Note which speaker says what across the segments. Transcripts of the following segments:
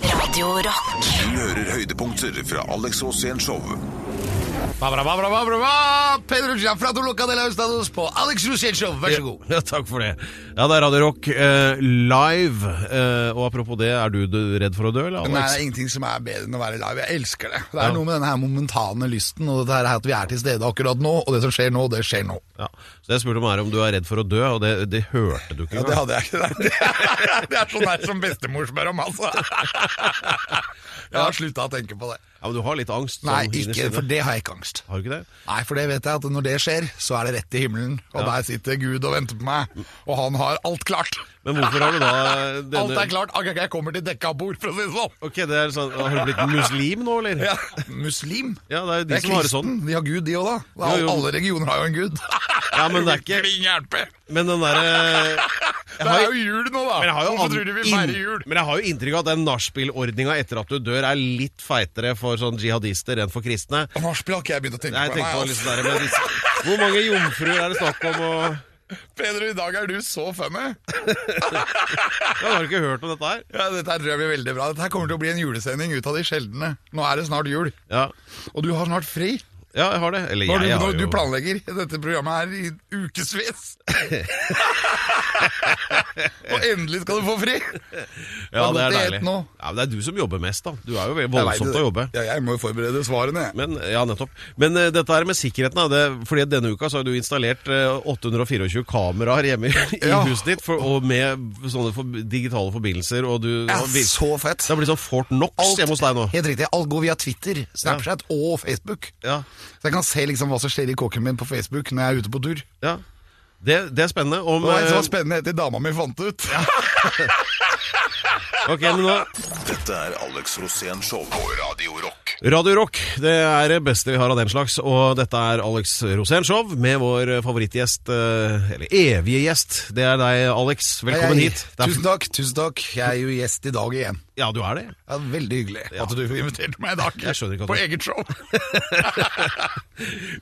Speaker 1: Radio Rock.
Speaker 2: Du hører høydepunkter fra Alex Rosén Show.
Speaker 3: Babra, babra, babra, babra. Pedro Gianfranco Locadella Ustados på Alex Rosén Show, vær så god.
Speaker 4: Ja, takk for det. Ja, det er Radio Rock eh, live. Eh, og apropos det, er du, du redd for å dø, eller?
Speaker 3: Nei, det
Speaker 4: Alex?
Speaker 3: er ingenting som er bedre enn å være live. Jeg elsker det. Det er
Speaker 4: Ja.
Speaker 3: noe med denne her momentane lysten og dette her at vi er til stede akkurat nå, og det som skjer nå, det skjer nå.
Speaker 4: Ja. Så det jeg spurte om, er om du er redd for å dø, og det, det hørte du ikke.
Speaker 3: Ja, det hadde jeg ikke. Det er, det er sånn her som bestemor spør om, altså. Jeg har slutta å tenke på det.
Speaker 4: ja, men du har litt angst?
Speaker 3: Nei,
Speaker 4: sånn innerst
Speaker 3: ikke,
Speaker 4: inne.
Speaker 3: for det har jeg ikke angst.
Speaker 4: Har du ikke det?
Speaker 3: Nei, for det vet jeg at når det skjer, så er det rett i himmelen, og der sitter Gud og venter på meg, og han har alt klart.
Speaker 4: Men hvorfor har du da eh, denne
Speaker 3: Alt er klart, akkurat jeg kommer til dekka bord, for å si det sånn.
Speaker 4: Ok, det er sånn, Har du blitt muslim nå, eller?
Speaker 3: Ja. Muslim?
Speaker 4: Ja, det er jo de som har det sånn.
Speaker 3: De har Gud, de òg, da.
Speaker 4: Jo, jo.
Speaker 3: Alle regioner har jo en gud.
Speaker 4: Ja, men det er ikke-
Speaker 3: Kling hjelpe!
Speaker 4: Men den eh, derre
Speaker 3: Det er jo jul nå, da!
Speaker 4: Men jeg har jo,
Speaker 3: Hvorfor
Speaker 4: an-
Speaker 3: tror du vi feirer
Speaker 4: inn-
Speaker 3: jul?
Speaker 4: men jeg har jo inntrykk av at den nachspiel-ordninga etter at du dør, er litt feitere for sånn jihadister enn for kristne.
Speaker 3: Nachspiel har ikke jeg begynt å tenke
Speaker 4: Nei, jeg
Speaker 3: på.
Speaker 4: tenker på
Speaker 3: Nei,
Speaker 4: liksom der, men disse- Hvor mange jomfruer er det snakk om? Og...
Speaker 3: altså. Pedro, i dag er du så funny!
Speaker 4: Jeg har ikke hørt om dette her.
Speaker 3: Ja, dette her tror jeg blir veldig bra. Dette her kommer til å bli en julesending ut av de sjeldne. Nå er det snart jul,
Speaker 4: Ja,
Speaker 3: og du har snart fri.
Speaker 4: ja jeg har det. Eller
Speaker 3: Nå har
Speaker 4: jeg,
Speaker 3: du,
Speaker 4: jeg
Speaker 3: nå-
Speaker 4: har
Speaker 3: du
Speaker 4: jo
Speaker 3: planlegger dette programmet her i ukevis. og endelig skal du få fri!
Speaker 4: Ja, det er
Speaker 3: Godt i
Speaker 4: deilig.
Speaker 3: ett nå.
Speaker 4: Ja, men det er du som jobber mest, da. Du er jo veldig
Speaker 3: Jeg vet
Speaker 4: voldsomt
Speaker 3: det.
Speaker 4: å jobbe.
Speaker 3: Ja, jeg må jo forberede svarene, jeg.
Speaker 4: Men, ja, nettopp. Men eh, dette her med sikkerheten, da, det, fordi denne uka så har du installert eh, 824 kameraer hjemme i, i
Speaker 3: Ja.
Speaker 4: huset ditt, for, og med sånne for, digitale forbindelser, og du
Speaker 3: Ja,
Speaker 4: og vir-
Speaker 3: så fett.
Speaker 4: Det har blitt sånn Fort Knox hjemme hos deg nå.
Speaker 3: Helt riktig. Alt går via Twitter, Snapchat og Facebook.
Speaker 4: Ja,
Speaker 3: Så jeg kan se liksom hva som skjer i kåken min på Facebook når jeg er ute på tur.
Speaker 4: ja. Det, det er spennende. Om,
Speaker 3: Det var en som var
Speaker 4: eh,
Speaker 3: spennende etter dama mi fant det ut.
Speaker 4: ok, men nå,
Speaker 2: Dette er Alex Rosén Show på Radio Rock.
Speaker 4: Radio Rock, det er det beste vi har av den slags, og dette er Alex Rosén Show med vår favorittgjest, eh, eller evige gjest. Det er deg, Alex. Velkommen
Speaker 3: Hei, hei.
Speaker 4: hit. Det er-
Speaker 3: Tusen takk, tusen takk. Jeg er jo gjest i dag igjen.
Speaker 4: Ja, du er det.
Speaker 3: Ja, veldig hyggelig at du inviterte meg i dag.
Speaker 4: Jeg skjønner ikke at
Speaker 3: På
Speaker 4: du-
Speaker 3: eget show.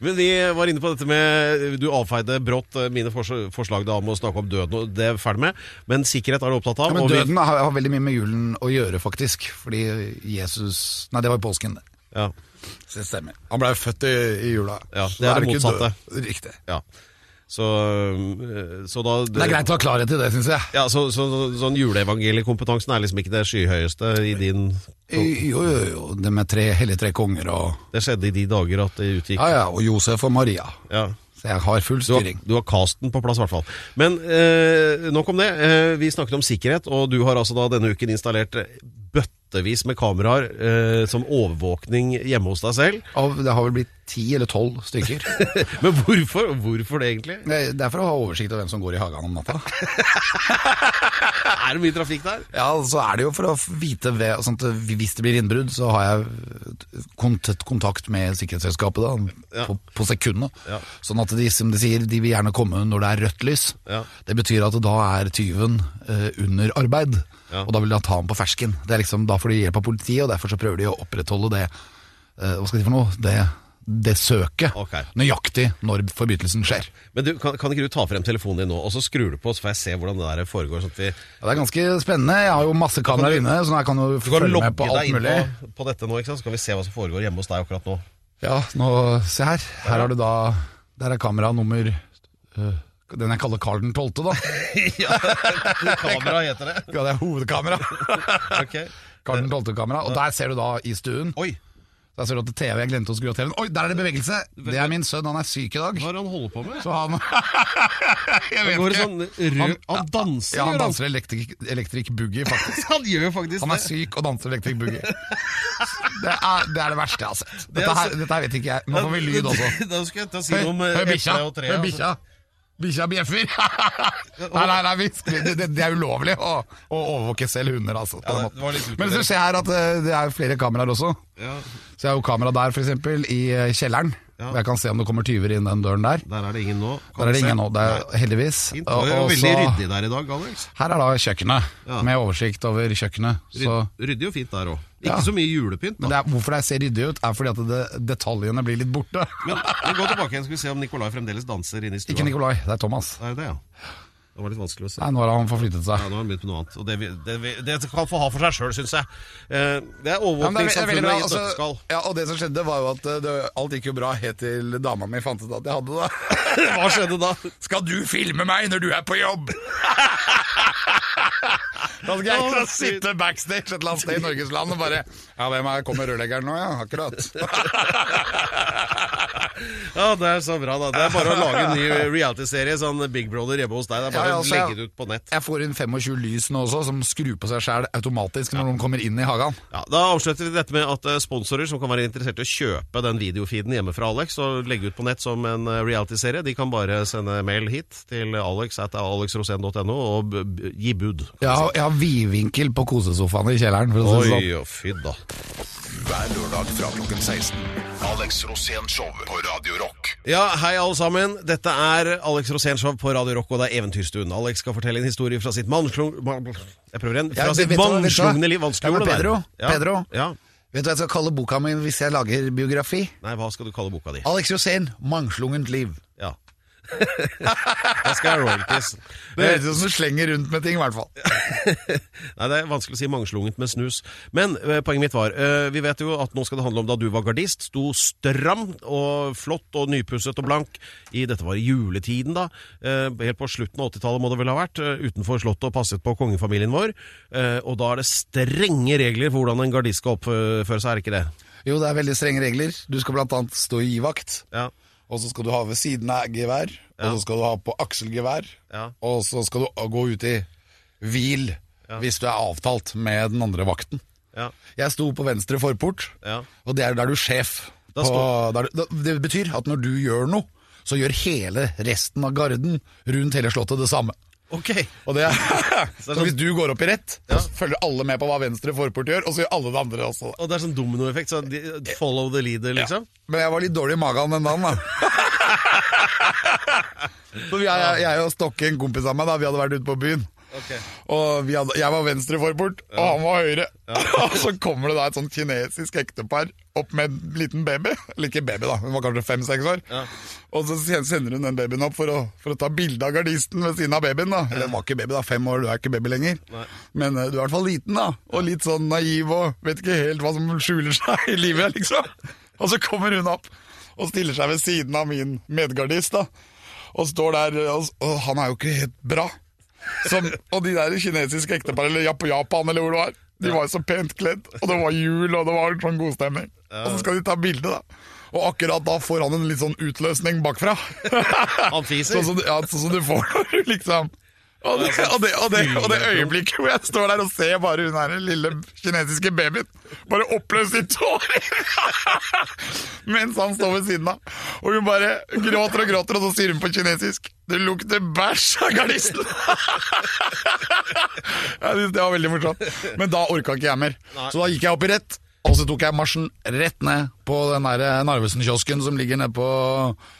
Speaker 4: Men vi var inne på dette med Du avfeide brått eh, mine fors- forslag da om å snakke om døden, og det er vi ferdig med. Men sikkerhet er du opptatt av.
Speaker 3: Ja, men
Speaker 4: og vi-
Speaker 3: døden har, har veldig mye med julen å gjøre, faktisk. Fordi Jesus Nei, det var i påsken. det.
Speaker 4: Ja,
Speaker 3: Så det stemmer. Han blei født i, i jula.
Speaker 4: Ja,
Speaker 3: Så
Speaker 4: det er
Speaker 3: da
Speaker 4: det
Speaker 3: ikke
Speaker 4: motsatte.
Speaker 3: død. Riktig.
Speaker 4: ja. Så, eh, så da
Speaker 3: Det er greit å ha klarhet i det, syns jeg.
Speaker 4: Ja, så, så, så, sånn juleevangeliekompetansen er liksom ikke det skyhøyeste i din
Speaker 3: Jo, jo, jo. Det med tre hellige tre konger og
Speaker 4: Det skjedde i de dager at det utgikk.
Speaker 3: Ja, ja, og Josef og Maria.
Speaker 4: Ja.
Speaker 3: Så jeg har full
Speaker 4: Du har,
Speaker 3: styring.
Speaker 4: du har casten på plass, i hvert fall. Men eh, nok om det. Eh, vi snakket om sikkerhet, og du har altså da denne uken installert bøttevis med kameraer eh, som overvåkning hjemme hos deg selv.
Speaker 3: Av, det har vel blitt ti eller tolv stykker.
Speaker 4: Men hvorfor, hvorfor det, egentlig?
Speaker 3: Det er for å ha oversikt over hvem som går i hagen om natta.
Speaker 4: Er det mye trafikk der?
Speaker 3: Ja, så er det jo for å vite ved, sånn at Hvis det blir innbrudd, så har jeg kont kontakt med sikkerhetsselskapet da,
Speaker 4: Ja.
Speaker 3: på, på sekundet.
Speaker 4: Ja.
Speaker 3: Sånn at de, som de sier, de vil gjerne komme når det er rødt lys.
Speaker 4: Ja.
Speaker 3: Det betyr at da er tyven eh, under arbeid,
Speaker 4: Ja.
Speaker 3: og da vil de ta ham på fersken. Det er liksom, da får de hjelp av politiet, og derfor så prøver de å opprettholde det eh, Hva skal de for noe? Det, det søket.
Speaker 4: Ok.
Speaker 3: Nøyaktig når forbrytelsen skjer.
Speaker 4: Men du, kan, kan ikke du ta frem telefonen din nå, og så skrur du på, så får jeg se hvordan det der foregår? Sånn at vi
Speaker 3: Ja, det er ganske spennende. Jeg har jo masse kameraer inne, så jeg kan jo
Speaker 4: Du kan
Speaker 3: følge
Speaker 4: logge
Speaker 3: med på alt
Speaker 4: deg inn
Speaker 3: mulig.
Speaker 4: på, på dette nå, ikke sant? så kan vi se hva som foregår hjemme hos deg akkurat nå.
Speaker 3: Ja, nå, se her. Her har du da Der er kamera nummer øh, Den jeg kaller Carl den 12., da.
Speaker 4: ja, kamera heter det.
Speaker 3: Ja, det er hovedkamera.
Speaker 4: Ok.
Speaker 3: Carl den 12.-kamera. Og der ser du da i stuen.
Speaker 4: Oi,
Speaker 3: Der ser du at TV, jeg glemte å skru av TV-en. Oi, der er det bevegelse! Det er min sønn, han er syk i dag.
Speaker 4: hva er det han holder på med?
Speaker 3: Så han Jeg
Speaker 4: Han går i sånn rød Han danser,
Speaker 3: Ja,
Speaker 4: gjør
Speaker 3: han
Speaker 4: han.
Speaker 3: danser electric, electric boogie, faktisk.
Speaker 4: Han gjør faktisk
Speaker 3: Han er syk og danser electric boogie. Det er det, er det verste jeg har sett.
Speaker 4: er
Speaker 3: Dette her,
Speaker 4: så-
Speaker 3: dette her vet ikke jeg. Nå får vi lyd også.
Speaker 4: Da skulle jeg til å si
Speaker 3: Hør,
Speaker 4: noe om eh,
Speaker 3: hør bikkja!
Speaker 4: eple og tre.
Speaker 3: Hør
Speaker 4: altså.
Speaker 3: bikkja! Bikkja bjeffer! nei, nei, nei, vi, det, det, det er ulovlig å, å overvåke selv hunder, altså. på
Speaker 4: Ja,
Speaker 3: den
Speaker 4: det- det var litt
Speaker 3: måten.
Speaker 4: utover
Speaker 3: Men så
Speaker 4: det.
Speaker 3: ser jeg her at eh, det er flere kameraer også.
Speaker 4: Ja,
Speaker 3: Så jeg har jo kamera der, for eksempel, i eh, kjelleren.
Speaker 4: Ja.
Speaker 3: Og jeg kan se om det kommer tyver inn den døren der.
Speaker 4: der er det ingen nå. Kan
Speaker 3: Der
Speaker 4: vi
Speaker 3: er det
Speaker 4: se?
Speaker 3: ingen nå, det er,
Speaker 4: Nei,
Speaker 3: heldigvis.
Speaker 4: fint.
Speaker 3: Og-
Speaker 4: Det er jo
Speaker 3: og
Speaker 4: veldig
Speaker 3: så-
Speaker 4: ryddig der i dag, Alex.
Speaker 3: Her er da kjøkkenet,
Speaker 4: Ja.
Speaker 3: med oversikt over kjøkkenet. Så,
Speaker 4: Ryd, ryddig og fint der òg. Ikke
Speaker 3: Ja.
Speaker 4: så mye julepynt.
Speaker 3: men
Speaker 4: Da.
Speaker 3: det er, hvorfor det ser ryddig ut, er fordi at det, detaljene blir litt borte.
Speaker 4: Men, men gå tilbake igjen, skal vi se om Nikolai fremdeles danser inne i stua.
Speaker 3: Ikke Nikolai, det er Thomas.
Speaker 4: Det er det, ja. Det var litt vanskelig å se.
Speaker 3: Nei, nå har han forflyttet
Speaker 4: Ja,
Speaker 3: seg.
Speaker 4: nå har han begynt med noe annet. Og det, vi- det, vi- det kan få ha for seg sjøl, syns jeg. Eh, Det er
Speaker 3: Ja, men det er, det er veldig
Speaker 4: overvåkningssamfunnet
Speaker 3: bra.
Speaker 4: i et
Speaker 3: Altså,
Speaker 4: nøtteskall.
Speaker 3: ja, og det som skjedde, var jo at eh, det, alt gikk jo bra helt til dama mi fant ut at jeg hadde det.
Speaker 4: Hva skjedde da?
Speaker 3: Skal du filme meg når du er på jobb? Da skal jeg
Speaker 4: Å,
Speaker 3: da
Speaker 4: shit.
Speaker 3: sitte backstage et eller annet sted i Norges land og bare Ja, hvem er kommer rørleggeren nå, ja? Akkurat.
Speaker 4: Ja, Det er så bra, da. Det er bare å lage en ny reality-serie, sånn Big Brother hjemme hos deg. Det er bare
Speaker 3: Ja, ja,
Speaker 4: å
Speaker 3: altså,
Speaker 4: legge
Speaker 3: jeg-
Speaker 4: det ut på nett.
Speaker 3: Jeg får inn 25 lys nå også, som skrur på seg sjæl automatisk når noen kommer inn i hagen.
Speaker 4: Ja, da avslutter vi dette med at eh, sponsorer som kan være interessert i å kjøpe den videofeeden hjemme fra Alex og legge ut på nett som en eh, reality-serie, de kan bare sende mail hit til alex at alexrosen.no og b b gi bud.
Speaker 3: Jeg har, jeg har vidvinkel på kosesofaen i kjelleren. For å si det sånn.
Speaker 4: og fy da.
Speaker 2: Hver lørdag fra klokken 16. Alex Rosén Show på Radio Rock.
Speaker 4: Ja, hei alle sammen. Dette er Alex Rosénshow på Radio Rock, og det er Eventyrstuen. Alex skal fortelle en historie fra sitt mannslung... Jeg prøver igjen.
Speaker 3: Ja,
Speaker 4: Fra
Speaker 3: vet
Speaker 4: sitt
Speaker 3: du hva, vet du hva?
Speaker 4: mannslungne liv. Vanskelig
Speaker 3: Ja, men
Speaker 4: ord, det der.
Speaker 3: Pedro, Pedro.
Speaker 4: Ja.
Speaker 3: Vet du hva jeg skal kalle boka mi hvis jeg lager biografi?
Speaker 4: Nei, hva skal du kalle boka di?
Speaker 3: Alex Rosén, 'Mangslungent liv'.
Speaker 4: Ja. Jeg skal ha royalties.
Speaker 3: Det høres ut som du slenger rundt med ting, i hvert fall.
Speaker 4: Nei, det er vanskelig å si mangslungent med snus. Men eh, poenget mitt var, eh, vi vet jo at nå skal det handle om da du var gardist, sto stram og flott og nypusset og blank i dette var i juletiden da, eh, helt på slutten av 80-tallet må det vel ha vært, eh, utenfor slottet og passet på kongefamilien vår, eh, og da er det strenge regler for hvordan en gardist skal oppføre seg, er det ikke det?
Speaker 3: Jo, det er veldig strenge regler. Du skal blant annet stå i givakt.
Speaker 4: Ja,
Speaker 3: Og så skal du ha ved siden av gevær, og så skal du ha på akselgevær,
Speaker 4: Ja.
Speaker 3: og så skal du gå ut i hvil hvis du er avtalt med den andre vakten.
Speaker 4: ja,
Speaker 3: Jeg sto på venstre forport,
Speaker 4: Ja.
Speaker 3: og det er der du er sjef.
Speaker 4: Da
Speaker 3: på-
Speaker 4: står-
Speaker 3: der, du- da- det betyr at når du gjør noe, så gjør hele resten av garden rundt hele slottet det samme.
Speaker 4: ok.
Speaker 3: Og det er,
Speaker 4: det er
Speaker 3: så
Speaker 4: sånn-
Speaker 3: hvis du går opp i rett, så følger alle med på hva venstre forport gjør, og så gjør alle det andre også.
Speaker 4: Og det er sånn dominoeffekt, så de- follow the leader liksom.
Speaker 3: Men jeg var litt dårlig i magen den dagen, da. Så jeg, jeg, jeg og Stokke, en kompis av meg, da, vi hadde vært ute på byen.
Speaker 4: Ok.
Speaker 3: Og vi hadde, jeg var venstre forport, og han var høyre. og så kommer det da et sånt kinesisk ektepar opp med en liten baby. Eller ikke baby, da, hun var kanskje fem-seks år. Og så sen- sender hun den babyen opp for å, for å ta bilde av gardisten ved siden av babyen. da. Eller den var ikke baby, da. Fem år, du er ikke baby lenger. Men eh, du er i hvert fall liten, da. Og litt sånn naiv og vet ikke helt hva som skjuler seg i livet, liksom. Og så kommer hun opp og stiller seg ved siden av min medgardist, da. Og står der, eh, og, og han er jo ikke helt bra. Som, og de der kinesiske ektepar, eller Jap Japan, eller hvor det var, de var jo så pent kledd, og det var jul, og det var sånn god stemning. Og så skal de ta bilde, da. Og akkurat da får han en litt sånn utløsning bakfra.
Speaker 4: Han fiser.
Speaker 3: Sånn som du- ja, sånn som du får når du liksom og det, og, det, og, det, og det øyeblikket hvor jeg står der og ser bare hun her lille kinesiske babyen bare oppløst i tårer mens han står ved siden av. Og hun bare gråter og gråter, og så sier hun på kinesisk 'Det lukter bæsj av gardisten'. Jeg synes det var veldig morsomt. Men da orka ikke jeg mer. Så da gikk jeg opp i rett, og så tok jeg marsjen rett ned på den der Narvesen-kiosken som ligger nede på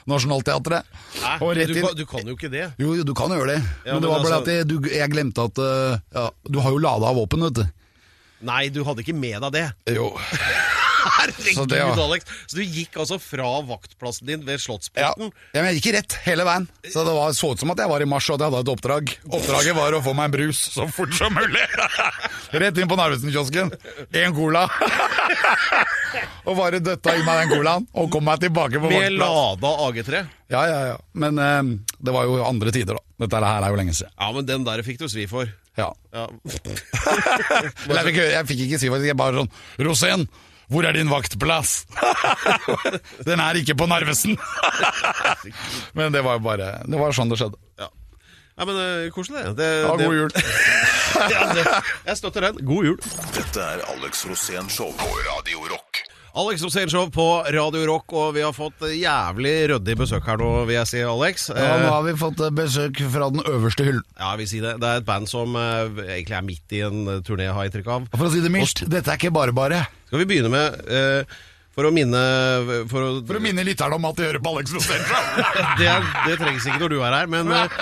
Speaker 3: Nationaltheatret.
Speaker 4: Nei,
Speaker 3: Og rett
Speaker 4: du,
Speaker 3: inn
Speaker 4: kan- du kan jo ikke det.
Speaker 3: jo, jo, du kan gjøre det,
Speaker 4: Ja,
Speaker 3: men
Speaker 4: men
Speaker 3: det var
Speaker 4: altså-
Speaker 3: bare at jeg, du, jeg glemte at eh, ja, Du har jo lada av våpen, vet du.
Speaker 4: Nei, du hadde ikke med deg det.
Speaker 3: Jo. Så
Speaker 4: Herregud,
Speaker 3: det, ja.
Speaker 4: Alex. Så du gikk altså fra vaktplassen din ved
Speaker 3: Ja.
Speaker 4: Slottsporten.
Speaker 3: ja, men jeg gikk i rett hele veien. Så det var, så ut som at jeg var i mars og at jeg hadde et oppdrag. Oppdraget var å få meg en brus så fort som mulig. Rett inn på Narvesen-kiosken. Én cola. og bare døtta i meg den colaen og kom meg tilbake på
Speaker 4: Med
Speaker 3: vaktplass.
Speaker 4: lada AG3.
Speaker 3: Ja, ja, ja. Men eh, det var jo andre tider, da. Dette her er jo lenge siden.
Speaker 4: Ja, men den der fikk du svi for.
Speaker 3: Ja.
Speaker 4: Ja.
Speaker 3: Eller jeg fikk, jeg fikk ikke si hva jeg bare sånn Rosén, hvor er din vaktplass? Den er ikke på Narvesen! Men det var jo bare Det var sånn det skjedde.
Speaker 4: ja. Nei, men eh, koselig, det. det,
Speaker 3: Ja,
Speaker 4: det
Speaker 3: god jul.
Speaker 4: ja, det. Jeg støtter den. God jul.
Speaker 2: Dette er Alex Rosén Show på Radio Rock.
Speaker 4: Alex Rosénshow på Radio Rock, og vi har fått eh, jævlig ryddig besøk her nå, vil jeg si, Alex.
Speaker 3: Ja,
Speaker 4: Eh,
Speaker 3: nå har vi fått besøk fra den øverste hyllen.
Speaker 4: ja, jeg vil si det. Det er et band som eh, egentlig er midt i en eh, turné, har jeg inntrykk av.
Speaker 3: For å si det mildt, dette er ikke bare bare.
Speaker 4: Skal vi begynne med eh, For å minne For å,
Speaker 3: For å minne lytterne om at de hører på Alex Rosén.
Speaker 4: det, er- det trengs ikke når du er her, men eh,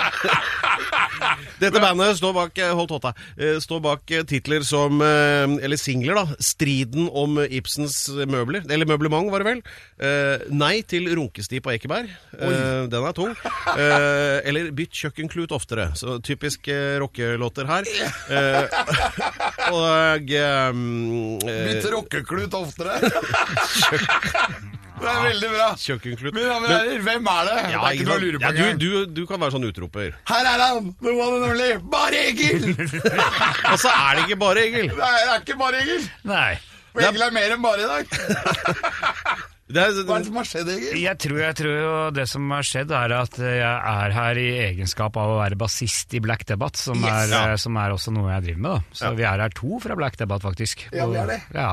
Speaker 4: Dette bandet står bak eh, Hold tåta. eh, Står bak eh, titler som eh, Eller singler, da. 'Striden om Ibsens møbler'. Eller møblement, var det vel. Eh, 'Nei til runkesti på Ekeberg'. Eh, Den er tung. Eh, Eller 'Bytt kjøkkenklut oftere'. Så typisk eh, rockelåter her. Eh, Og eh, eh,
Speaker 3: Bytte rockeklut oftere. det er veldig bra.
Speaker 4: Kjøkkenklut.
Speaker 3: Mine damer og herrer, hvem er det? det er ikke noe å lure på
Speaker 4: ja,
Speaker 3: engang.
Speaker 4: du, du, du kan være sånn utroper.
Speaker 3: Her er han! The one and only Bare Egil!
Speaker 4: Og så er det ikke bare Egil.
Speaker 3: Nei, det er ikke Bare Egil.
Speaker 1: Nei.
Speaker 3: For Egil er mer enn bare i dag.
Speaker 4: Det er,
Speaker 3: Hva er det som har skjedd, Egil?
Speaker 1: Jeg tror, jeg tror jo det som har skjedd, er at jeg er her i egenskap av å være bassist i Black Debate, som,
Speaker 3: Yes.
Speaker 1: er, eh, som er også noe jeg driver med. da. Så vi er her to fra Black Debate, faktisk.
Speaker 3: Ja, vi er det.
Speaker 1: Ja,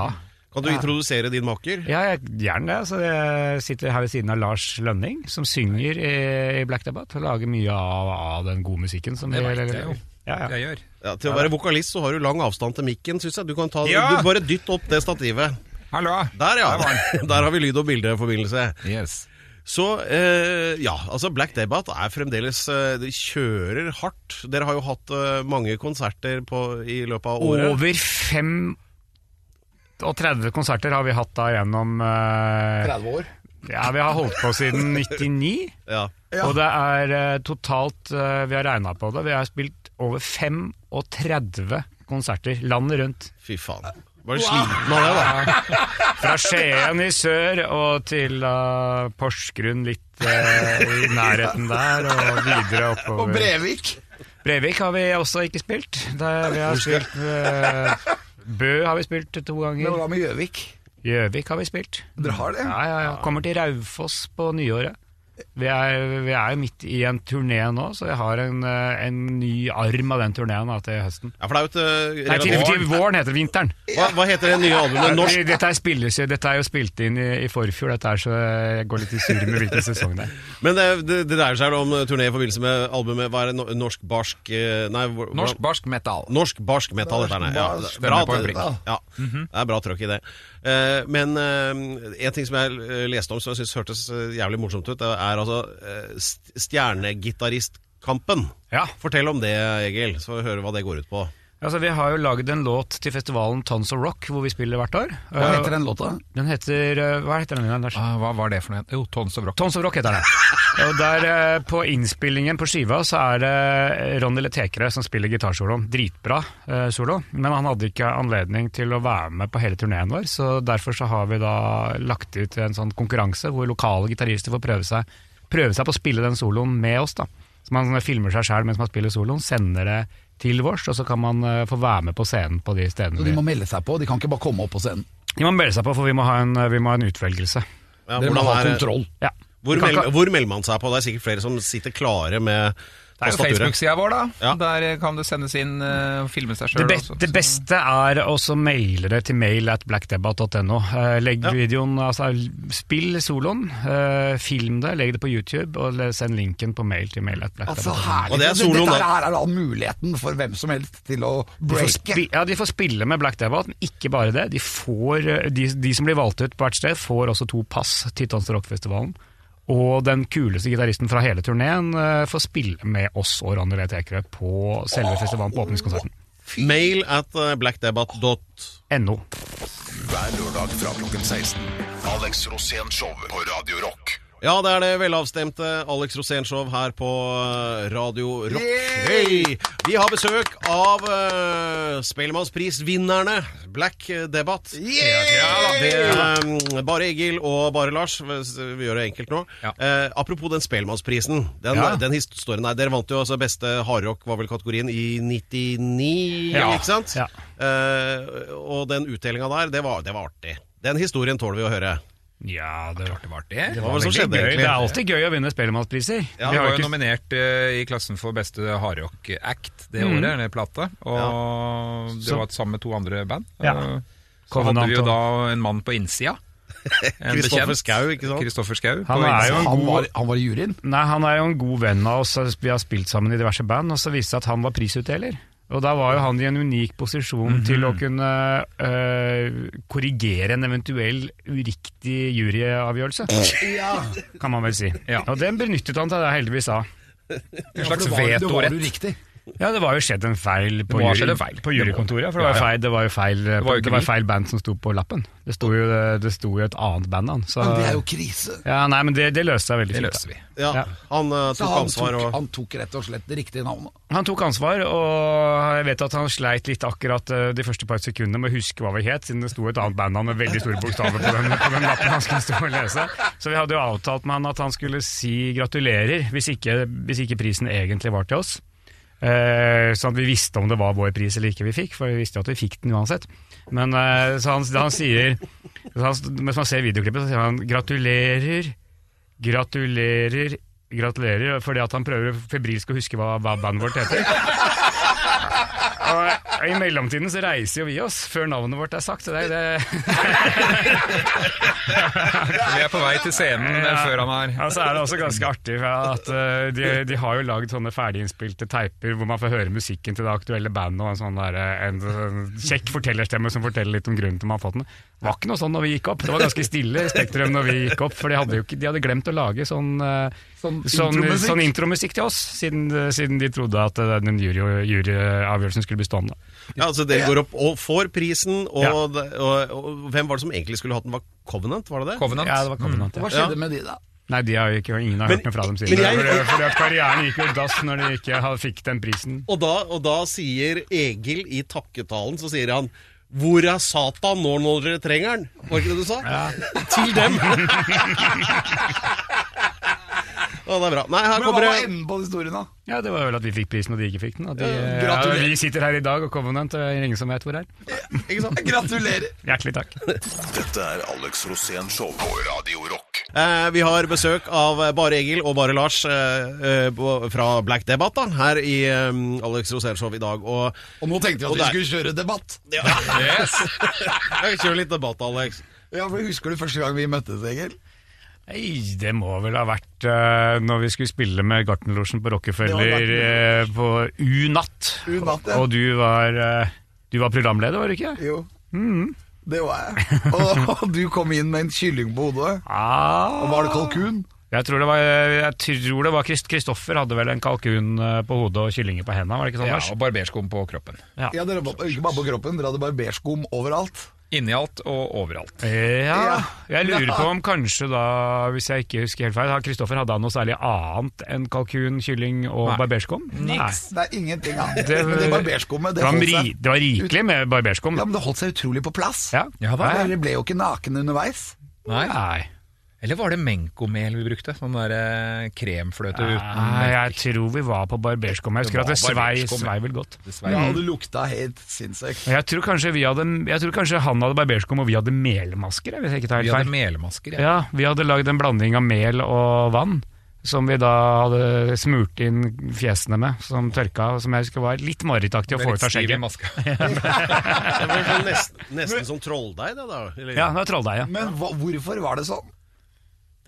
Speaker 4: Kan du introdusere din maker?
Speaker 1: ja jeg, gjerne det. Så jeg sitter her ved siden av Lars Lønning, som synger i, i Black Debate, og lager mye av, av den gode musikken. som
Speaker 5: Det
Speaker 1: vi-
Speaker 5: vet jeg jo.
Speaker 1: Ja, ja.
Speaker 5: Jeg gjør.
Speaker 4: Ja, til å være vokalist så har du lang avstand til mikken, syns jeg. Du kan ta,
Speaker 5: Ja!
Speaker 4: du bare dytt opp det stativet.
Speaker 5: Hallo!
Speaker 4: Der, ja. Der har vi lyd- og bildeforbindelse.
Speaker 5: Yes.
Speaker 4: Så eh, ja, altså Black Debate er fremdeles eh, De kjører hardt. Dere har jo hatt eh, mange konserter på, i løpet av året.
Speaker 1: Over 35 konserter har vi hatt da gjennom eh,
Speaker 3: 30 år.
Speaker 1: Ja, vi har holdt på siden 99.
Speaker 4: Ja.
Speaker 1: Og det er eh, totalt eh, Vi har regna på det. Vi har spilt over 35 konserter landet rundt.
Speaker 4: Fy faen. Var du sliten av det, da?
Speaker 1: Fra Skien i sør og til eh, Porsgrunn litt eh, i nærheten der, og videre oppover.
Speaker 3: Og Brevik.
Speaker 1: Brevik har vi også ikke spilt. Der vi har spilt eh, Bø har vi spilt to
Speaker 3: Men
Speaker 1: ganger.
Speaker 3: hva med Gjøvik?
Speaker 1: Gjøvik har vi spilt.
Speaker 3: Dere har det?
Speaker 1: Ja, ja, ja. Kommer til Raufoss på nyåret. Vi er, vi er jo midt i en turné nå, så jeg har en, eh, en ny arm av den turneen til høsten.
Speaker 4: Ja, for det er jo et eh,
Speaker 1: Nei, til, til
Speaker 4: relativt-
Speaker 1: våren heter det vinteren.
Speaker 4: hva, hva heter det nye albumet? Norsk?
Speaker 1: Dette, er spilles, jo- dette er jo spilt inn i, i forfjor, dette er, så jeg går litt i surr med hvilken sesong det er.
Speaker 4: Men det, det, det dreier seg om eh, turné i forbindelse med albumet Hva er det? no- Norsk barsk eh, Nei, hvor-
Speaker 5: Norsk barsk metal.
Speaker 4: Norsk barsk metal, dette her. Ja,
Speaker 3: barsk
Speaker 4: bra,
Speaker 5: stemmer på en prikk.
Speaker 4: ja, det er bra trøkk i det. Eh, men eh, en ting som jeg eh, leste om som jeg syns hørtes eh, jævlig morsomt ut, det er altså eh, st- Stjernegitaristkampen.
Speaker 1: Ja,
Speaker 4: Fortell om det, Egil, så får vi høre hva det går ut på.
Speaker 1: altså Vi har jo lagd en låt til festivalen Tons of Rock, hvor vi spiller hvert år.
Speaker 3: Hva heter den låta?
Speaker 1: Den heter eh, Hva heter den igjen, Anders?
Speaker 5: Ah, hva var det for noe? Jo, Tons of Rock.
Speaker 1: Tons of Rock heter den. Og der eh, På innspillingen på skiva så er det eh, Ronny Letekere som spiller gitarsoloen. Dritbra eh, solo, men han hadde ikke anledning til å være med på hele turneen vår. Så derfor så har vi da lagt ut en sånn konkurranse hvor lokale gitarister får prøve seg, prøve seg på å spille den soloen med oss. da. Så Man eh, filmer seg sjøl mens man spiller soloen, sender det til vårs, og så kan man eh, få være med på scenen på de stedene.
Speaker 3: De
Speaker 1: De,
Speaker 3: må melde seg på, de kan ikke bare komme opp på scenen.
Speaker 1: de må melde seg på, for vi må ha en, eh, vi må ha en utvelgelse.
Speaker 4: Ja,
Speaker 3: Dere må
Speaker 4: hvordan
Speaker 3: ha
Speaker 4: er-
Speaker 3: kontroll.
Speaker 1: Ja.
Speaker 4: hvor,
Speaker 1: Vi kan
Speaker 4: mel,
Speaker 1: ikke-
Speaker 4: hvor melder man seg på? Det er sikkert flere som sitter klare med
Speaker 5: Det er jo
Speaker 4: tastaturet.
Speaker 5: Facebook-sida vår, da.
Speaker 4: Ja.
Speaker 5: Der eh, kan det sendes inn eh, og filme seg
Speaker 1: Det,
Speaker 5: sjøl.
Speaker 1: be det beste er også maile det til mail at blackdebate.no. Eh, legg
Speaker 4: Ja.
Speaker 1: videoen, altså spill soloen, eh, film det, legg det på YouTube, og le- send linken på mail til mail at
Speaker 3: Altså
Speaker 1: blackdebate.no.
Speaker 3: herlig.
Speaker 4: Og det er soloen,
Speaker 3: Dette
Speaker 4: det.
Speaker 3: her er da muligheten for hvem som helst til å
Speaker 1: De får,
Speaker 3: breake.
Speaker 1: spi- ja, de får spille med Black Debate, men ikke bare det. De, får, eh, de, de som blir valgt ut på hvert sted, får også to pass til Tons Rockfestivalen. Og den kuleste gitaristen fra hele turneen eh, får spille med oss og Ronny Leth Ekerø på selve festivalen på åpningskonserten.
Speaker 4: Mail at eh, blackdebatt.no.
Speaker 1: NO.
Speaker 2: Hver lørdag fra klokken 16. Alex Rosén Show på Radio Rock.
Speaker 4: Ja, det er det velavstemte Alex Rosénshow her på eh, Radio Rock. Hei! Vi har besøk av uh, Spellemannsprisvinnerne Black Debatt. Det er eh, bare Egil og bare Lars. Vi gjør det enkelt nå.
Speaker 5: Ja.
Speaker 4: Eh, apropos den Spellemannsprisen. Den,
Speaker 5: Ja.
Speaker 4: den historien der. Dere vant jo altså beste hardrock, var vel kategorien, i 99,
Speaker 1: Ja.
Speaker 4: ikke sant?
Speaker 1: Ja.
Speaker 4: Eh, og den utdelinga der, det var, det var artig. Den historien tåler vi å høre.
Speaker 1: Ja, det var
Speaker 5: Var det?
Speaker 4: Hva var det som
Speaker 1: Veldig
Speaker 4: skjedde,
Speaker 1: gøy.
Speaker 4: egentlig?
Speaker 1: Det er alltid gøy å vinne Spellemannspriser.
Speaker 4: Ja,
Speaker 1: Vi
Speaker 5: Vi var
Speaker 1: har
Speaker 5: jo
Speaker 1: ikke-
Speaker 5: nominert eh, i klassen for beste hardrock-act det året, eller plate. Og det
Speaker 1: Så-
Speaker 5: var sammen med to andre band.
Speaker 1: Ja.
Speaker 5: Og Så
Speaker 1: Covenant
Speaker 5: hadde vi jo
Speaker 1: og-
Speaker 5: da en mann på innsida. En
Speaker 4: Kristoffer
Speaker 5: bekjent.
Speaker 4: Schau, ikke sant?
Speaker 5: Kristoffer Schau.
Speaker 1: Han er
Speaker 5: på innsida.
Speaker 1: jo en
Speaker 3: Han
Speaker 1: god-
Speaker 3: var, han var i juryen.
Speaker 1: Nei, han er jo en god venn av oss. Vi har spilt sammen i diverse band, og så viste det seg at han var prisutdeler. Og da var jo han i en unik posisjon
Speaker 5: Mhm.
Speaker 1: til å kunne øh, korrigere en eventuell uriktig juryavgjørelse, kan man vel si.
Speaker 5: Ja.
Speaker 1: Og den benyttet han seg da heldigvis av.
Speaker 5: En slags
Speaker 3: Altså, Det var- Det var jo
Speaker 5: vetorett.
Speaker 3: riktig.
Speaker 1: Ja, det var jo skjedd en feil på,
Speaker 5: Det må ha
Speaker 1: jury,
Speaker 5: skjedd en feil.
Speaker 1: på jurykontoret. For det var,
Speaker 5: Ja, ja.
Speaker 1: feil, det var jo feil, det
Speaker 5: var
Speaker 1: var
Speaker 5: jo ikke vi.
Speaker 1: feil band som sto på lappen. Det sto jo, det sto jo et annet band an. Så,
Speaker 6: Det er jo krise.
Speaker 1: ja, nei, men det, det løste seg veldig
Speaker 5: Det
Speaker 1: fint.
Speaker 5: løser
Speaker 1: da.
Speaker 5: vi.
Speaker 4: Ja,
Speaker 1: Ja.
Speaker 4: Han eh,
Speaker 6: Så
Speaker 4: tok
Speaker 6: han
Speaker 4: ansvar
Speaker 6: tok,
Speaker 4: og
Speaker 6: han tok rett og slett det riktige navnet.
Speaker 1: Han tok ansvar, og jeg vet at han sleit litt akkurat eh, de første par sekundene med å huske hva vi het, siden det sto et annet band han med veldig store bokstaver på den, på den lappen han skulle stå og lese. Så vi hadde jo avtalt med han at han skulle si gratulerer, hvis ikke, hvis ikke prisen egentlig var til oss. Eh, sånn at vi visste om det var vår pris eller ikke vi fikk, for vi visste jo at vi fikk den uansett. Men eh, så han, da han sier, så han, mens man ser videoklippet, så sier han gratulerer, gratulerer, gratulerer, fordi at han prøver febrilsk å huske hva, hva bandet vårt heter. Og I mellomtiden så reiser jo vi oss før navnet vårt er sagt. Så det, er- det,
Speaker 5: Vi er på vei til scenen eh, før han er
Speaker 1: altså er det også ganske artig at eh, de, de har jo lagd sånne ferdiginnspilte teiper hvor man får høre musikken til det aktuelle bandet og en sånn der, eh, en, sånn kjekk fortellerstemme som forteller litt om grunnen til man har fått den. Det var ikke noe sånn når vi gikk opp. Det var ganske stille i Spektrum når vi gikk opp, for de hadde, jo ikke, de hadde glemt å lage sånn, eh,
Speaker 6: Sånn
Speaker 1: sånn,
Speaker 6: intromusikk.
Speaker 1: sånn intromusikk til oss, siden, siden de trodde at eh, den jury- juryavgjørelsen skulle bli stående.
Speaker 4: ja, altså Dere går opp og får prisen, og,
Speaker 1: Ja.
Speaker 4: det- og, og hvem var det som egentlig skulle hatt den? Var Covenant, var det det?
Speaker 5: Covenant.
Speaker 1: Ja, det var kommet
Speaker 6: Hva skjedde med de, da?
Speaker 1: Mm. Nei, de har jo ikke, ingen har
Speaker 4: Men-
Speaker 1: hørt noe fra dem siden.
Speaker 4: men jeg-
Speaker 1: fordi, fordi at karrieren gikk jo i dass når de ikke ha- fikk den prisen.
Speaker 4: Og da, og da sier Egil i takketalen, så sier han hvor er Satan nå når dere trenger den? Var ikke det du sa? Til dem. Å, det er bra. Nei, her
Speaker 6: Men hva
Speaker 4: kommer
Speaker 6: var
Speaker 4: det
Speaker 6: enden på historien, da?
Speaker 1: Ja, det var vel at vi fikk prisen og de ikke fikk den. Og de,
Speaker 6: Ja,
Speaker 1: ja,
Speaker 6: gratulerer.
Speaker 1: vi sitter her i dag og Covenant, og det er ingen som vet hvor det er.
Speaker 4: ikke sant?
Speaker 6: Gratulerer!
Speaker 1: Hjertelig takk.
Speaker 2: Dette er Alex Rosén Show på Radio Rock.
Speaker 4: Eh, vi har besøk av eh, bare Egil og bare Lars eh, eh, på- fra Black Debatt da, her i eh, Alex Rosénshow i dag. Og
Speaker 6: Og nå tenkte vi
Speaker 4: Og
Speaker 6: at vi
Speaker 4: der.
Speaker 6: skulle kjøre debatt.
Speaker 5: Yes.
Speaker 4: jeg kjører litt debatt, Alex.
Speaker 6: Ja, for Husker du første gang vi møttes, Egil?
Speaker 1: Nei, det må vel ha vært uh, når vi skulle spille med Gartnerlosjen
Speaker 6: Det
Speaker 1: på
Speaker 6: var
Speaker 1: Rockefeller eh, på U-natt.
Speaker 6: U-natt, ja.
Speaker 1: Og du var, eh, du var programleder, var du ikke?
Speaker 6: Jo. Det var jeg. Og, og du kom inn med en kylling på hodet. Og
Speaker 1: Ah,
Speaker 6: var det kalkun?
Speaker 1: jeg tror det var, jeg tror det var Krist- Kristoffer hadde vel en kalkun eh, på hodet og kyllinger på hendene, var det ikke sånn,
Speaker 5: Ja,
Speaker 1: Lars?
Speaker 5: og barberskum på kroppen.
Speaker 6: Ja, dere var Ikke bare på kroppen, dere hadde barberskum overalt.
Speaker 5: Inni alt og overalt.
Speaker 1: Ja,
Speaker 6: Ja.
Speaker 1: jeg lurer på om kanskje da, hvis jeg ikke husker helt feil, har Kristoffer hadde han noe særlig annet enn kalkun, kylling og
Speaker 5: Nei.
Speaker 1: barberskum? Nei.
Speaker 6: Det er ingenting annet.
Speaker 1: Det-
Speaker 6: Men det barberskummet,
Speaker 1: Det
Speaker 6: det
Speaker 1: var,
Speaker 6: holdt
Speaker 1: ri,
Speaker 6: seg.
Speaker 1: det var rikelig med barberskum.
Speaker 6: Ja, men det holdt seg utrolig på plass.
Speaker 1: Ja.
Speaker 5: Ja, hva
Speaker 1: Nei.
Speaker 6: Dere ble jo ikke nakne underveis.
Speaker 5: Nei.
Speaker 1: Nei.
Speaker 5: Eller var det menkomel vi brukte? Sånn der eh, kremfløte uten
Speaker 1: Nei, jeg tror vi var på barberskum. Jeg
Speaker 5: Det
Speaker 1: husker at det
Speaker 5: var
Speaker 1: svei,
Speaker 5: barberskum, ja.
Speaker 1: svei vel godt.
Speaker 5: Dessverre.
Speaker 6: Ja, og det lukta helt sinnssykt.
Speaker 1: Og Jeg tror, kanskje vi hadde, jeg tror kanskje han hadde barberskum og vi hadde melmasker, jeg, hvis jeg ikke tar
Speaker 5: Vi
Speaker 1: helt
Speaker 5: hadde
Speaker 1: feil.
Speaker 5: melmasker. Ja.
Speaker 1: Ja, vi hadde lagd en blanding av mel og vann, som vi da hadde smurt inn fjesene med, som tørka, og som jeg husker var litt marerittaktig å få ut av skjegget.
Speaker 4: Det var sånn nesten, nesten som trolldeig, det da. Eller?
Speaker 1: Ja, det var trolldeig, ja.
Speaker 6: Men hva, hvorfor var det sånn?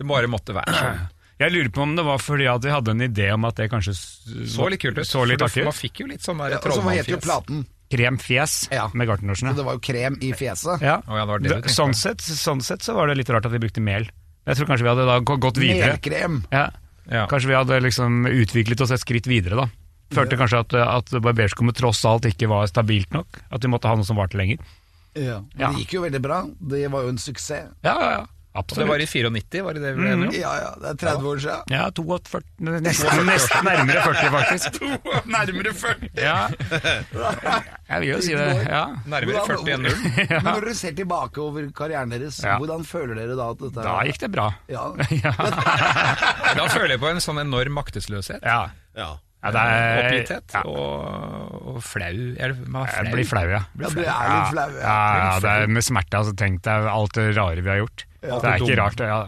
Speaker 5: Det bare måtte være sånn.
Speaker 1: Jeg lurer på om det var fordi at vi hadde en idé om at det kanskje s-
Speaker 5: Så litt kult ut.
Speaker 1: Så litt
Speaker 5: For
Speaker 1: artig
Speaker 5: Man
Speaker 1: ut.
Speaker 5: fikk jo litt sånn der
Speaker 6: Ja, og så het jo
Speaker 5: trollmannfjes.
Speaker 6: platen.
Speaker 1: Kremfjes
Speaker 6: Ja.
Speaker 1: med gartnerlosjen.
Speaker 6: Så det var jo krem i fjeset.
Speaker 1: Ja.
Speaker 5: Å ja, det var det du
Speaker 1: Det-
Speaker 5: tenkte.
Speaker 1: sånn, sett, sånn sett så var det litt rart at vi brukte mel. Jeg tror kanskje vi hadde da gå- gått videre.
Speaker 6: Melkrem.
Speaker 1: Ja.
Speaker 5: Ja.
Speaker 1: Kanskje vi hadde liksom utviklet oss et skritt videre, da. Følte kanskje at, at barberskummet tross alt ikke var stabilt nok. At vi måtte ha noe som varte lenger.
Speaker 6: Ja. Men
Speaker 1: Ja.
Speaker 6: Det gikk jo veldig bra. Det var jo en suksess.
Speaker 1: Ja, ja, ja.
Speaker 5: Så det
Speaker 1: Absolutt.
Speaker 5: var i 94, var det det vi ble enige om?
Speaker 6: Ja, ja, det er 30 år siden.
Speaker 1: Ja, 42, nesten, nesten nærmere 40, faktisk.
Speaker 6: Nærmere 40!
Speaker 1: Ja. Jeg vil jo si det. Ja.
Speaker 5: Nærmere 40 enn null.
Speaker 6: Men når dere ser tilbake over karrieren deres,
Speaker 1: Ja.
Speaker 6: hvordan føler dere da at dette
Speaker 1: Da gikk det bra.
Speaker 6: Ja.
Speaker 5: Da føler jeg på en sånn enorm maktesløshet.
Speaker 1: Ja.
Speaker 4: Ja.
Speaker 1: Ja, det er-
Speaker 5: Oppgitthet
Speaker 1: Ja.
Speaker 5: og, og flau. Er det, man er
Speaker 1: Jeg blir flau, ja.
Speaker 6: Ja, du er litt flau, ja.
Speaker 1: ja. ja, ja det er med smerte. Altså, tenk deg alt det rare vi har gjort. det er ikke rart. Ja.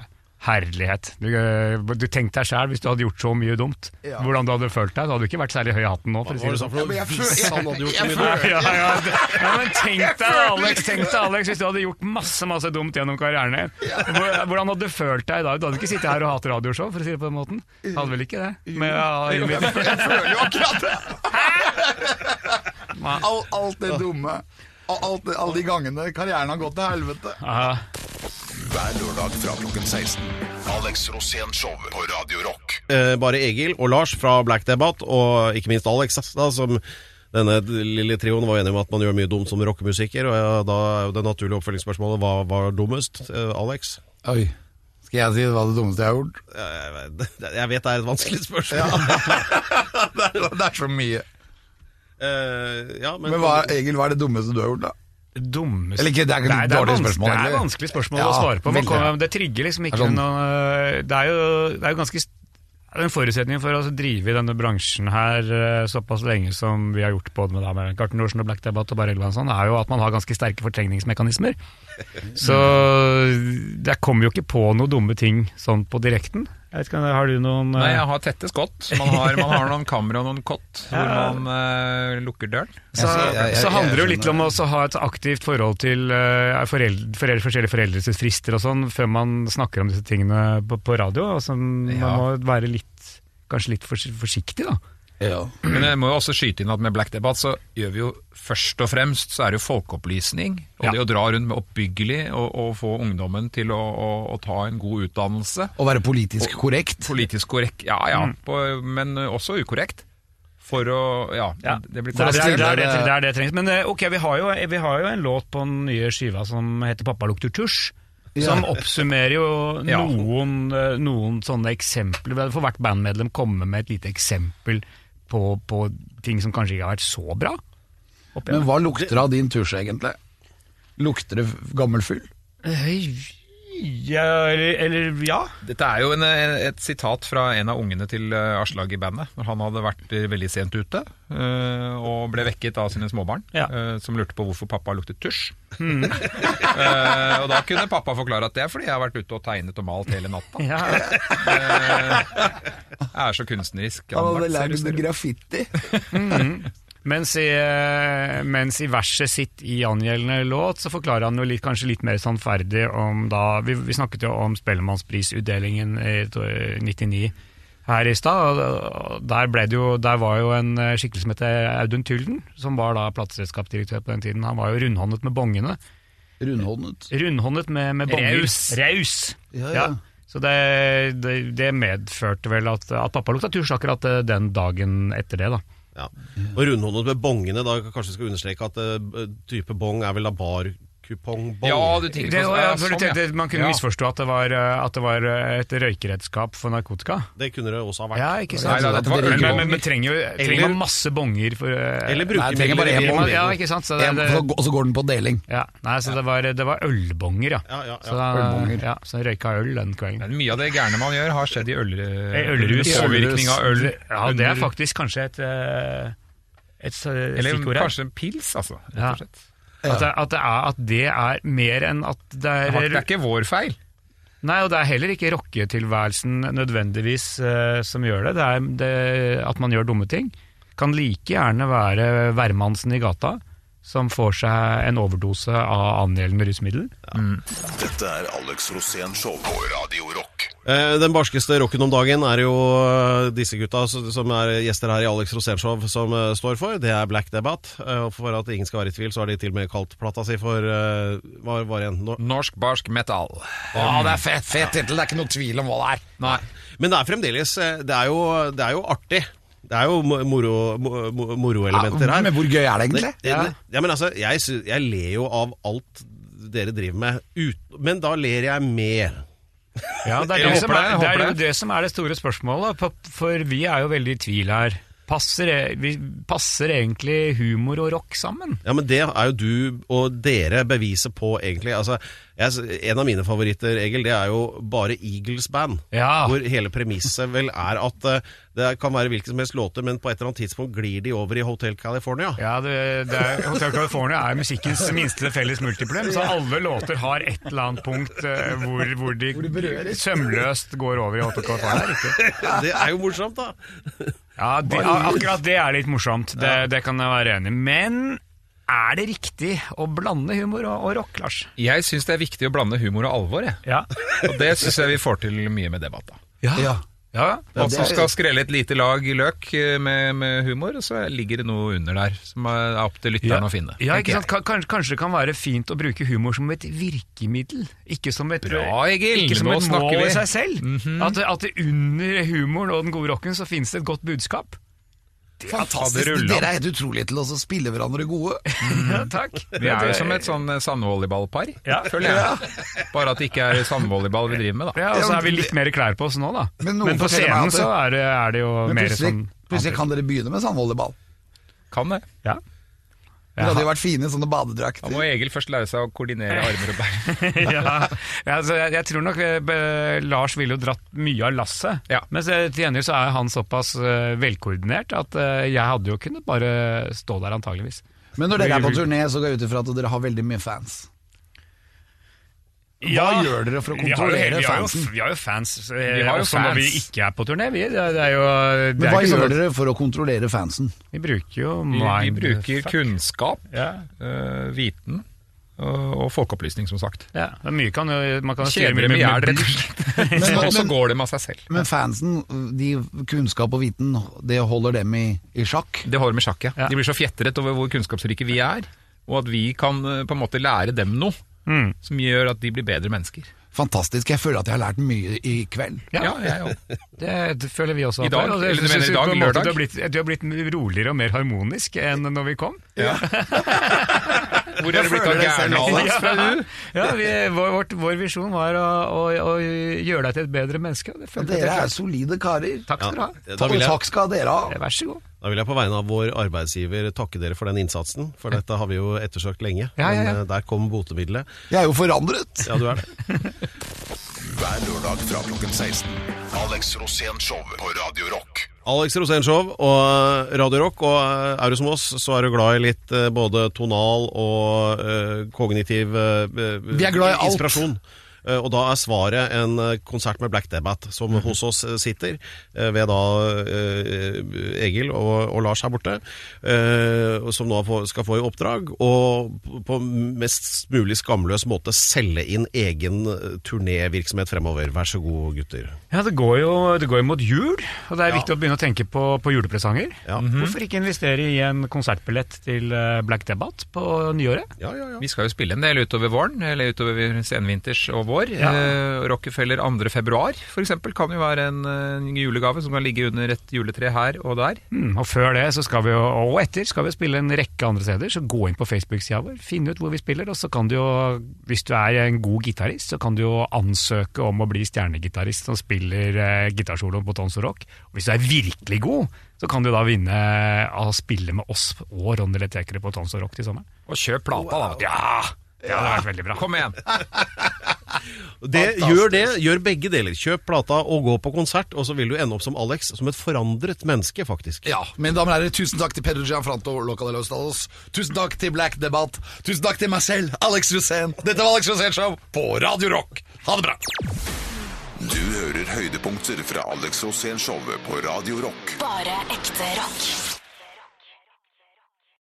Speaker 1: Herlighet. Du, eh, du tenkte deg sjæl, hvis du hadde gjort så mye dumt,
Speaker 6: Ja.
Speaker 1: hvordan du hadde følt deg. Du hadde ikke vært særlig høy i hatten nå.
Speaker 4: Hva
Speaker 1: For å si
Speaker 4: var det
Speaker 1: det
Speaker 4: sånn
Speaker 1: sånn.
Speaker 4: for
Speaker 6: men
Speaker 4: noe
Speaker 6: jeg
Speaker 4: hvis han hadde gjort så mye
Speaker 1: Ja,
Speaker 4: dumt?
Speaker 1: ja, det- ja, men tenk deg Alex, tenk deg, Alex hvis du hadde gjort masse masse dumt gjennom karrieren din. Hvor- Hvordan hadde du følt deg i dag? Du hadde ikke sittet her og hatt radioshow, for å si det på den måten. Hadde vel ikke det? Men, ja, jo, men-
Speaker 6: Al- alt det dumme. Og alt, det- alle de gangene karrieren har gått til helvete.
Speaker 1: Ja.
Speaker 2: Hver lørdag fra klokken 16. Alex Rosén-show på Radio Rock.
Speaker 4: Eh, bare Egil og Lars fra Black Debate, og ikke minst Alex, da, som denne lille trioen var enig om at man gjør mye dumt som rockemusiker. Og ja, da er jo det naturlige oppfølgingsspørsmålet hva var dummest? Eh, Alex?
Speaker 6: Oi. Skal jeg si hva det dummeste jeg har gjort?
Speaker 4: Eh, Jeg vet det er et vanskelig spørsmål.
Speaker 6: Det er, det er så mye.
Speaker 4: Eh, ja, men,
Speaker 6: Men hva, Egil, hva er det dummeste du har gjort, da?
Speaker 1: Dummeste
Speaker 6: Eller ikke, det er ikke et dårlig
Speaker 1: vanskelig-
Speaker 6: spørsmål,
Speaker 1: Det er
Speaker 6: egentlig.
Speaker 1: vanskelig spørsmål
Speaker 6: Ja,
Speaker 1: å svare på. Man
Speaker 6: veldig.
Speaker 1: kommer, det trigger liksom ikke
Speaker 6: Det er sånn-
Speaker 1: noe eh, Det er jo, det er jo ganske det er en forutsetning for å drive i denne bransjen her eh, såpass lenge som vi har gjort både med, da, med Garten Norsen og Black Debate og Barry Elvan og sånn, er jo at man har ganske sterke fortrengningsmekanismer. Så jeg kommer jo ikke på noen dumme ting sånn på direkten. Jeg vet ikke, Har du noen eh,
Speaker 5: Nei, jeg har tette skott. Man har, man har noen kamera og noen kott hvor man eh, lukker døren.
Speaker 1: Så,
Speaker 6: Jeg- jeg- jeg-
Speaker 1: så handler det jo
Speaker 6: jeg
Speaker 1: litt om å også ha et aktivt forhold til eh, foreld- forel- forskjellige foreldres frister og sånn, før man snakker om disse tingene på, på radio. Altså, Man
Speaker 5: Ja.
Speaker 1: må være litt, kanskje litt fors forsiktig, da.
Speaker 6: Ja.
Speaker 5: Men jeg må jo også skyte inn at med Black Debate så gjør vi jo først og fremst så er det jo folkeopplysning. Og
Speaker 1: Ja.
Speaker 5: det å dra rundt med oppbyggelig og, og få ungdommen til å, å, å ta en god utdannelse.
Speaker 6: Å være politisk korrekt?
Speaker 5: Politisk korrekt, ja ja,
Speaker 1: Mm.
Speaker 5: på, men også ukorrekt. For å Ja,
Speaker 1: Ja.
Speaker 5: det blir
Speaker 1: Det er det, er, det, er, det,
Speaker 6: det-
Speaker 1: det, er det trengs. Men eh, ok, vi har, jo, vi har jo en låt på den nye skiva som heter 'Pappa lukter tusj'. Som oppsummerer jo
Speaker 5: Ja.
Speaker 1: noen, eh, noen sånne eksempler. For hvert bandmedlem komme med et lite eksempel på, på ting som kanskje ikke har vært så bra. opp igjennom.
Speaker 6: Men hva lukter det av din tusj, egentlig? Lukter det f- gammel fyll?
Speaker 1: Øy, Ja, eller, eller ja.
Speaker 5: Dette er jo en, et sitat fra en av ungene til eh, Aslag i bandet. Når han hadde vært eh, veldig sent ute eh, og ble vekket av sine småbarn,
Speaker 1: Ja. Mm.
Speaker 5: eh, som lurte på hvorfor pappa luktet tusj. Eh, og da kunne pappa forklare at det er fordi jeg har vært ute og tegnet og malt hele natta.
Speaker 1: ja.
Speaker 5: Jeg er så kunstnerisk.
Speaker 6: Han
Speaker 5: anlagt,
Speaker 6: hadde
Speaker 5: ser
Speaker 6: lagd
Speaker 5: det ut til.
Speaker 6: graffiti.
Speaker 1: Mens, i, eh, mens i verset sitt i angjeldende låt, så forklarer han jo litt, kanskje litt mer sannferdig om da Vi, vi snakket jo om Spellemannsprisutdelingen i to- 99 her i stad. og- og Der, ble det jo, der var jo en eh, skikkelse som heter Audun Tylden, som var da plateselskapsdirektør på den tiden. Han var jo rundhåndet med bongene.
Speaker 6: Rundhåndet.
Speaker 1: Rundhåndet med, med bonger.
Speaker 5: Raus.
Speaker 1: Raus.
Speaker 6: Ja, ja.
Speaker 1: Så det, det, det medførte vel at, at pappa lukta tusj akkurat eh, den dagen etter det, da.
Speaker 4: Ja. Og rundhåndet med bongene, da kanskje vi skal understreke at eh, type bong er vel da barkupongbong?
Speaker 5: Ja, du tenker
Speaker 1: Det,
Speaker 5: på
Speaker 1: var- ja,
Speaker 5: ja,
Speaker 1: for
Speaker 5: sånn,
Speaker 1: du
Speaker 5: ja.
Speaker 1: tenkte, man kunne
Speaker 5: Ja.
Speaker 1: misforstå at det, var, eh, at det var eh, et røykeredskap for narkotika.
Speaker 4: Det kunne det også ha vært.
Speaker 1: Ja, ikke
Speaker 5: Nei,
Speaker 1: sant?
Speaker 5: nei, dette var
Speaker 1: men, men,
Speaker 5: ølbonger.
Speaker 1: men trenger, jo- trenger
Speaker 4: Eller-
Speaker 1: man masse bonger for eh,
Speaker 6: Nei,
Speaker 4: Eller bruke
Speaker 6: jeg trenger bare
Speaker 4: midler-
Speaker 6: en
Speaker 1: man-
Speaker 6: bong.
Speaker 1: Ja, ikke sant? Så det,
Speaker 6: En-
Speaker 1: det,
Speaker 6: Og så går den på deling.
Speaker 1: ja. Nei, så det var, det var ølbonger, ja.
Speaker 4: Ja, ja, ja.
Speaker 1: Så, da-
Speaker 6: Ølbonger.
Speaker 1: ja, så røyka øl den kvelden.
Speaker 5: Men mye av det gærne man gjør, har skjedd i øl,
Speaker 1: Eh, Ølrus.
Speaker 5: Påvirkning av øl.
Speaker 1: Ja, det er
Speaker 5: under-
Speaker 1: faktisk kanskje et, eh, et eh,
Speaker 5: Eller
Speaker 1: stikkord her.
Speaker 5: kanskje en pils, altså. Rett
Speaker 1: Ja.
Speaker 5: og slett.
Speaker 1: At det, at, det er, at det er mer enn at det
Speaker 5: Det
Speaker 1: er
Speaker 5: er ikke vår feil.
Speaker 1: Nei, og det er heller ikke rocketilværelsen nødvendigvis eh, som gjør det. Det er det, at man gjør dumme ting. Kan like gjerne være hvermannsen i gata som får seg en overdose av angjeldende rusmiddel.
Speaker 2: Dette er Alex Rosén-show på Radio Rock.
Speaker 4: Eh, Den barskeste rocken om dagen er jo eh, disse gutta s- som er gjester her i Alex Rosénshow som eh, står for. Det er Black Debate. Eh, og For at ingen skal være i tvil, så har de til og med kalt plata si for eh, Hva var det igjen? Nå-
Speaker 5: Norsk barsk metal.
Speaker 6: Ja, det er fett, fett tittel, det er ikke noe tvil om hva det er.
Speaker 5: Mm. Nei.
Speaker 4: Men det er fremdeles eh, Det er jo, det er jo artig. Det er jo mo- moro- mo- mo- moroelementer
Speaker 6: Ja,
Speaker 4: her.
Speaker 6: men hvor gøy er det egentlig?
Speaker 4: Det- det- Ja, men altså, jeg, sy- jeg ler jo av alt dere driver med, ut, men da ler jeg med.
Speaker 1: Ja, det er
Speaker 5: Jeg
Speaker 1: det,
Speaker 5: håper
Speaker 1: som er,
Speaker 5: det, jeg
Speaker 1: det, er
Speaker 5: håper
Speaker 1: jo
Speaker 5: det.
Speaker 1: det som er det store spørsmålet, for- for vi er jo veldig i tvil her. Passer, e- vi, passer egentlig humor og rock sammen?
Speaker 4: Ja, men det er jo du og dere beviset på, egentlig. Altså, jeg, s- en av mine favoritter, Egil, det er jo bare Eagles band.
Speaker 1: Ja.
Speaker 4: Hvor hele premisset vel er at eh, det kan være hvilke som helst låter, men på et eller annet tidspunkt glir de over i Hotel California.
Speaker 1: Ja, det, det er, Hotel California er musikkens minste felles multiplum, så alle låter har et eller annet punkt eh, hvor, hvor de sømløst går over i Hotel California. er det ikke?
Speaker 4: Det er jo morsomt, da.
Speaker 1: Ja, de, ja, akkurat det er litt morsomt, det, det kan jeg være enig i. Men er det riktig å blande humor og, og rock, Lars?
Speaker 5: Jeg syns det er viktig å blande humor og alvor, jeg.
Speaker 1: Ja.
Speaker 5: Og det syns jeg vi får til mye med debatt. da.
Speaker 6: Ja.
Speaker 1: Ja, ja.
Speaker 5: At man skal skrelle et lite lag løk eh, med, med humor, og så ligger det noe under der som er opp til lytteren å finne.
Speaker 1: Ja,
Speaker 5: tenker
Speaker 1: ikke sant? Ka- Kanskje, kanskje det kan være fint å bruke humor som et virkemiddel, ikke som et,
Speaker 5: Bra, Egil!
Speaker 1: ikke som
Speaker 5: Nå
Speaker 1: et mål
Speaker 5: snakker vi. Mhm.
Speaker 1: i seg selv. at, det- at det under humoren og den gode rocken så finnes det et godt budskap.
Speaker 3: Fantastisk.
Speaker 1: rullet.
Speaker 3: Dere er helt utrolige til å også spille hverandre gode.
Speaker 1: Ja, takk.
Speaker 5: Mhm. Vi er jo som et sånn eh, sandvolleyballpar,
Speaker 1: Ja.
Speaker 5: føler jeg. Bare at det ikke er sandvolleyball vi driver med, da.
Speaker 1: Ja, og så er vi litt mer klær på oss nå, da.
Speaker 3: Men
Speaker 1: Men,
Speaker 3: noen
Speaker 1: på
Speaker 3: forteller meg
Speaker 1: scenen
Speaker 3: at det-
Speaker 1: så er det, er det jo
Speaker 3: Men
Speaker 1: mer
Speaker 3: plutselig,
Speaker 1: sånn
Speaker 3: plutselig kan dere begynne med sandvolleyball.
Speaker 5: Kan det.
Speaker 1: Ja.
Speaker 3: Dere hadde jo vært fine i sånne badedrakter.
Speaker 5: Da må Egil først lære seg å koordinere armer og bein.
Speaker 1: ja, ja, altså, jeg, jeg tror nok eh, be- Lars ville jo dratt mye av lasset.
Speaker 5: Ja.
Speaker 1: Men så, til gjengjeld så er han såpass eh, velkoordinert at eh, jeg hadde jo kunnet bare stå der antageligvis.
Speaker 3: Men når dere er på turné, så går jeg ut ifra at dere har veldig mye fans. Hva gjør dere for å
Speaker 1: Vi har jo hele-
Speaker 3: kontrollere
Speaker 1: vi har jo-
Speaker 3: fansen?
Speaker 1: Vi har jo fans, eh,
Speaker 5: Vi har jo
Speaker 1: også når vi
Speaker 5: fans.
Speaker 1: ikke er på turné. Vi, det, er- det er jo, det
Speaker 3: Men
Speaker 1: er
Speaker 3: hva
Speaker 1: ikke så-
Speaker 3: gjør dere for å kontrollere fansen?
Speaker 1: Vi bruker jo
Speaker 5: Vi, vi
Speaker 1: mind-
Speaker 5: bruker kunnskap,
Speaker 1: ja.
Speaker 5: eh, viten og, og folkeopplysning, som sagt.
Speaker 1: Ja, men mye kan jo Man kan jo styre
Speaker 5: Kjeder
Speaker 1: mye
Speaker 5: dem i hjel,
Speaker 1: med-
Speaker 5: rett og slett.
Speaker 3: Men-
Speaker 5: Og så
Speaker 3: men-
Speaker 5: går dem av seg selv.
Speaker 3: Men fansen, de kunnskap og viten, det holder dem i, i sjakk.
Speaker 5: Det holder med sjakk, ja.
Speaker 1: Ja.
Speaker 5: De blir så fjetret over hvor kunnskapsrike vi er, og at vi kan eh, på en måte lære dem noe
Speaker 3: Mm.
Speaker 5: som gjør at de blir bedre mennesker.
Speaker 3: Fantastisk. Jeg føler at jeg har lært mye i kveld.
Speaker 1: Ja.
Speaker 5: Ja, jeg òg.
Speaker 1: Det, det føler vi også.
Speaker 5: I
Speaker 1: at-
Speaker 5: dag?
Speaker 1: og det-
Speaker 5: Eller du
Speaker 1: synes
Speaker 5: mener i
Speaker 1: jeg på
Speaker 5: dag,
Speaker 1: en måte
Speaker 5: lørdag?
Speaker 1: Du har, blitt, du har blitt roligere og mer harmonisk enn når vi kom.
Speaker 5: Hvor er det blitt av
Speaker 3: føler det selv
Speaker 5: gærne
Speaker 3: også.
Speaker 5: Alex fra U?
Speaker 1: Ja, vi, vår, vårt, vår visjon var å, å, å gjøre deg til et bedre menneske. og Det følte jeg at
Speaker 3: Dere
Speaker 1: jeg
Speaker 3: er
Speaker 1: klarte.
Speaker 3: solide karer.
Speaker 1: Takk skal du ha. Eh,
Speaker 4: Da
Speaker 3: Og
Speaker 4: vil, jeg,
Speaker 3: takk skal dere ha.
Speaker 1: Vær så god.
Speaker 4: da vil jeg på vegne av vår arbeidsgiver takke dere for den innsatsen, for dette har vi jo ettersøkt lenge.
Speaker 1: Ja, ja, ja.
Speaker 4: Men eh, der kom botemiddelet.
Speaker 3: Jeg er jo forandret.
Speaker 4: Ja, du er det.
Speaker 2: Hver lørdag fra klokken 16. Alex Rosén Show på Radio Rock.
Speaker 4: Alex Rosénshow og Radio Rock, og eh, er du som oss, så er du glad i litt eh, både tonal og eh, kognitiv eh,
Speaker 3: Vi er glad i alt.
Speaker 4: inspirasjon. Eh, Og da er svaret en eh, konsert med Black Debbath, som
Speaker 3: Mhm.
Speaker 4: hos oss eh, sitter, eh, ved da eh, Egil og, og Lars her borte, eh, og som nå få- skal få i oppdrag å på- på mest mulig skamløs måte selge inn egen eh, turnévirksomhet fremover. Vær så god, gutter.
Speaker 1: Ja, det går jo det går jo mot jul, og det er viktig å begynne å tenke på, på julepresanger.
Speaker 4: Ja.
Speaker 1: Hvorfor ikke investere i en konsertbillett til eh, Black Debbath på nyåret?
Speaker 4: Ja, ja, ja.
Speaker 5: Vi skal jo spille en del utover våren, eller utover senvinters og vår.
Speaker 1: Ja.
Speaker 5: Eh, Rockefeller 2. februar f.eks. kan jo være en, eh, en julegave som kan ligge under et juletre her og der.
Speaker 1: Mm, og før det, så skal vi jo, og etter, skal vi spille en rekke andre steder. Så gå inn på Facebook-sida vår, finn ut hvor vi spiller, og så kan du jo, hvis du er en god gitarist, så kan du jo ansøke om å bli stjernegitarist som spiller eh, gitarsoloen på Tons og Rock. Og hvis du er virkelig god, så kan du da vinne av å spille med oss og Ronny Letekere på Tons og Rock til sommeren.
Speaker 5: Og kjøp plata, da. vet du.
Speaker 1: Ja! Det hadde vært veldig bra.
Speaker 5: Kom igjen!
Speaker 4: Det, gjør det. Gjør begge deler. Kjøp plata og gå på konsert, og så vil du ende opp som Alex, som et forandret menneske, faktisk.
Speaker 3: Ja, mine damer og herrer, tusen takk til Pedro Gianfranto Loca de los Dados. Tusen takk til Black Debatt. Tusen takk til meg selv, Alex Rosén. Dette var Alex Rosén Show på Radio Rock. Ha det bra.
Speaker 2: Du hører høydepunkter fra Alex Rosén Show på Radio Rock.
Speaker 7: Bare ekte rock.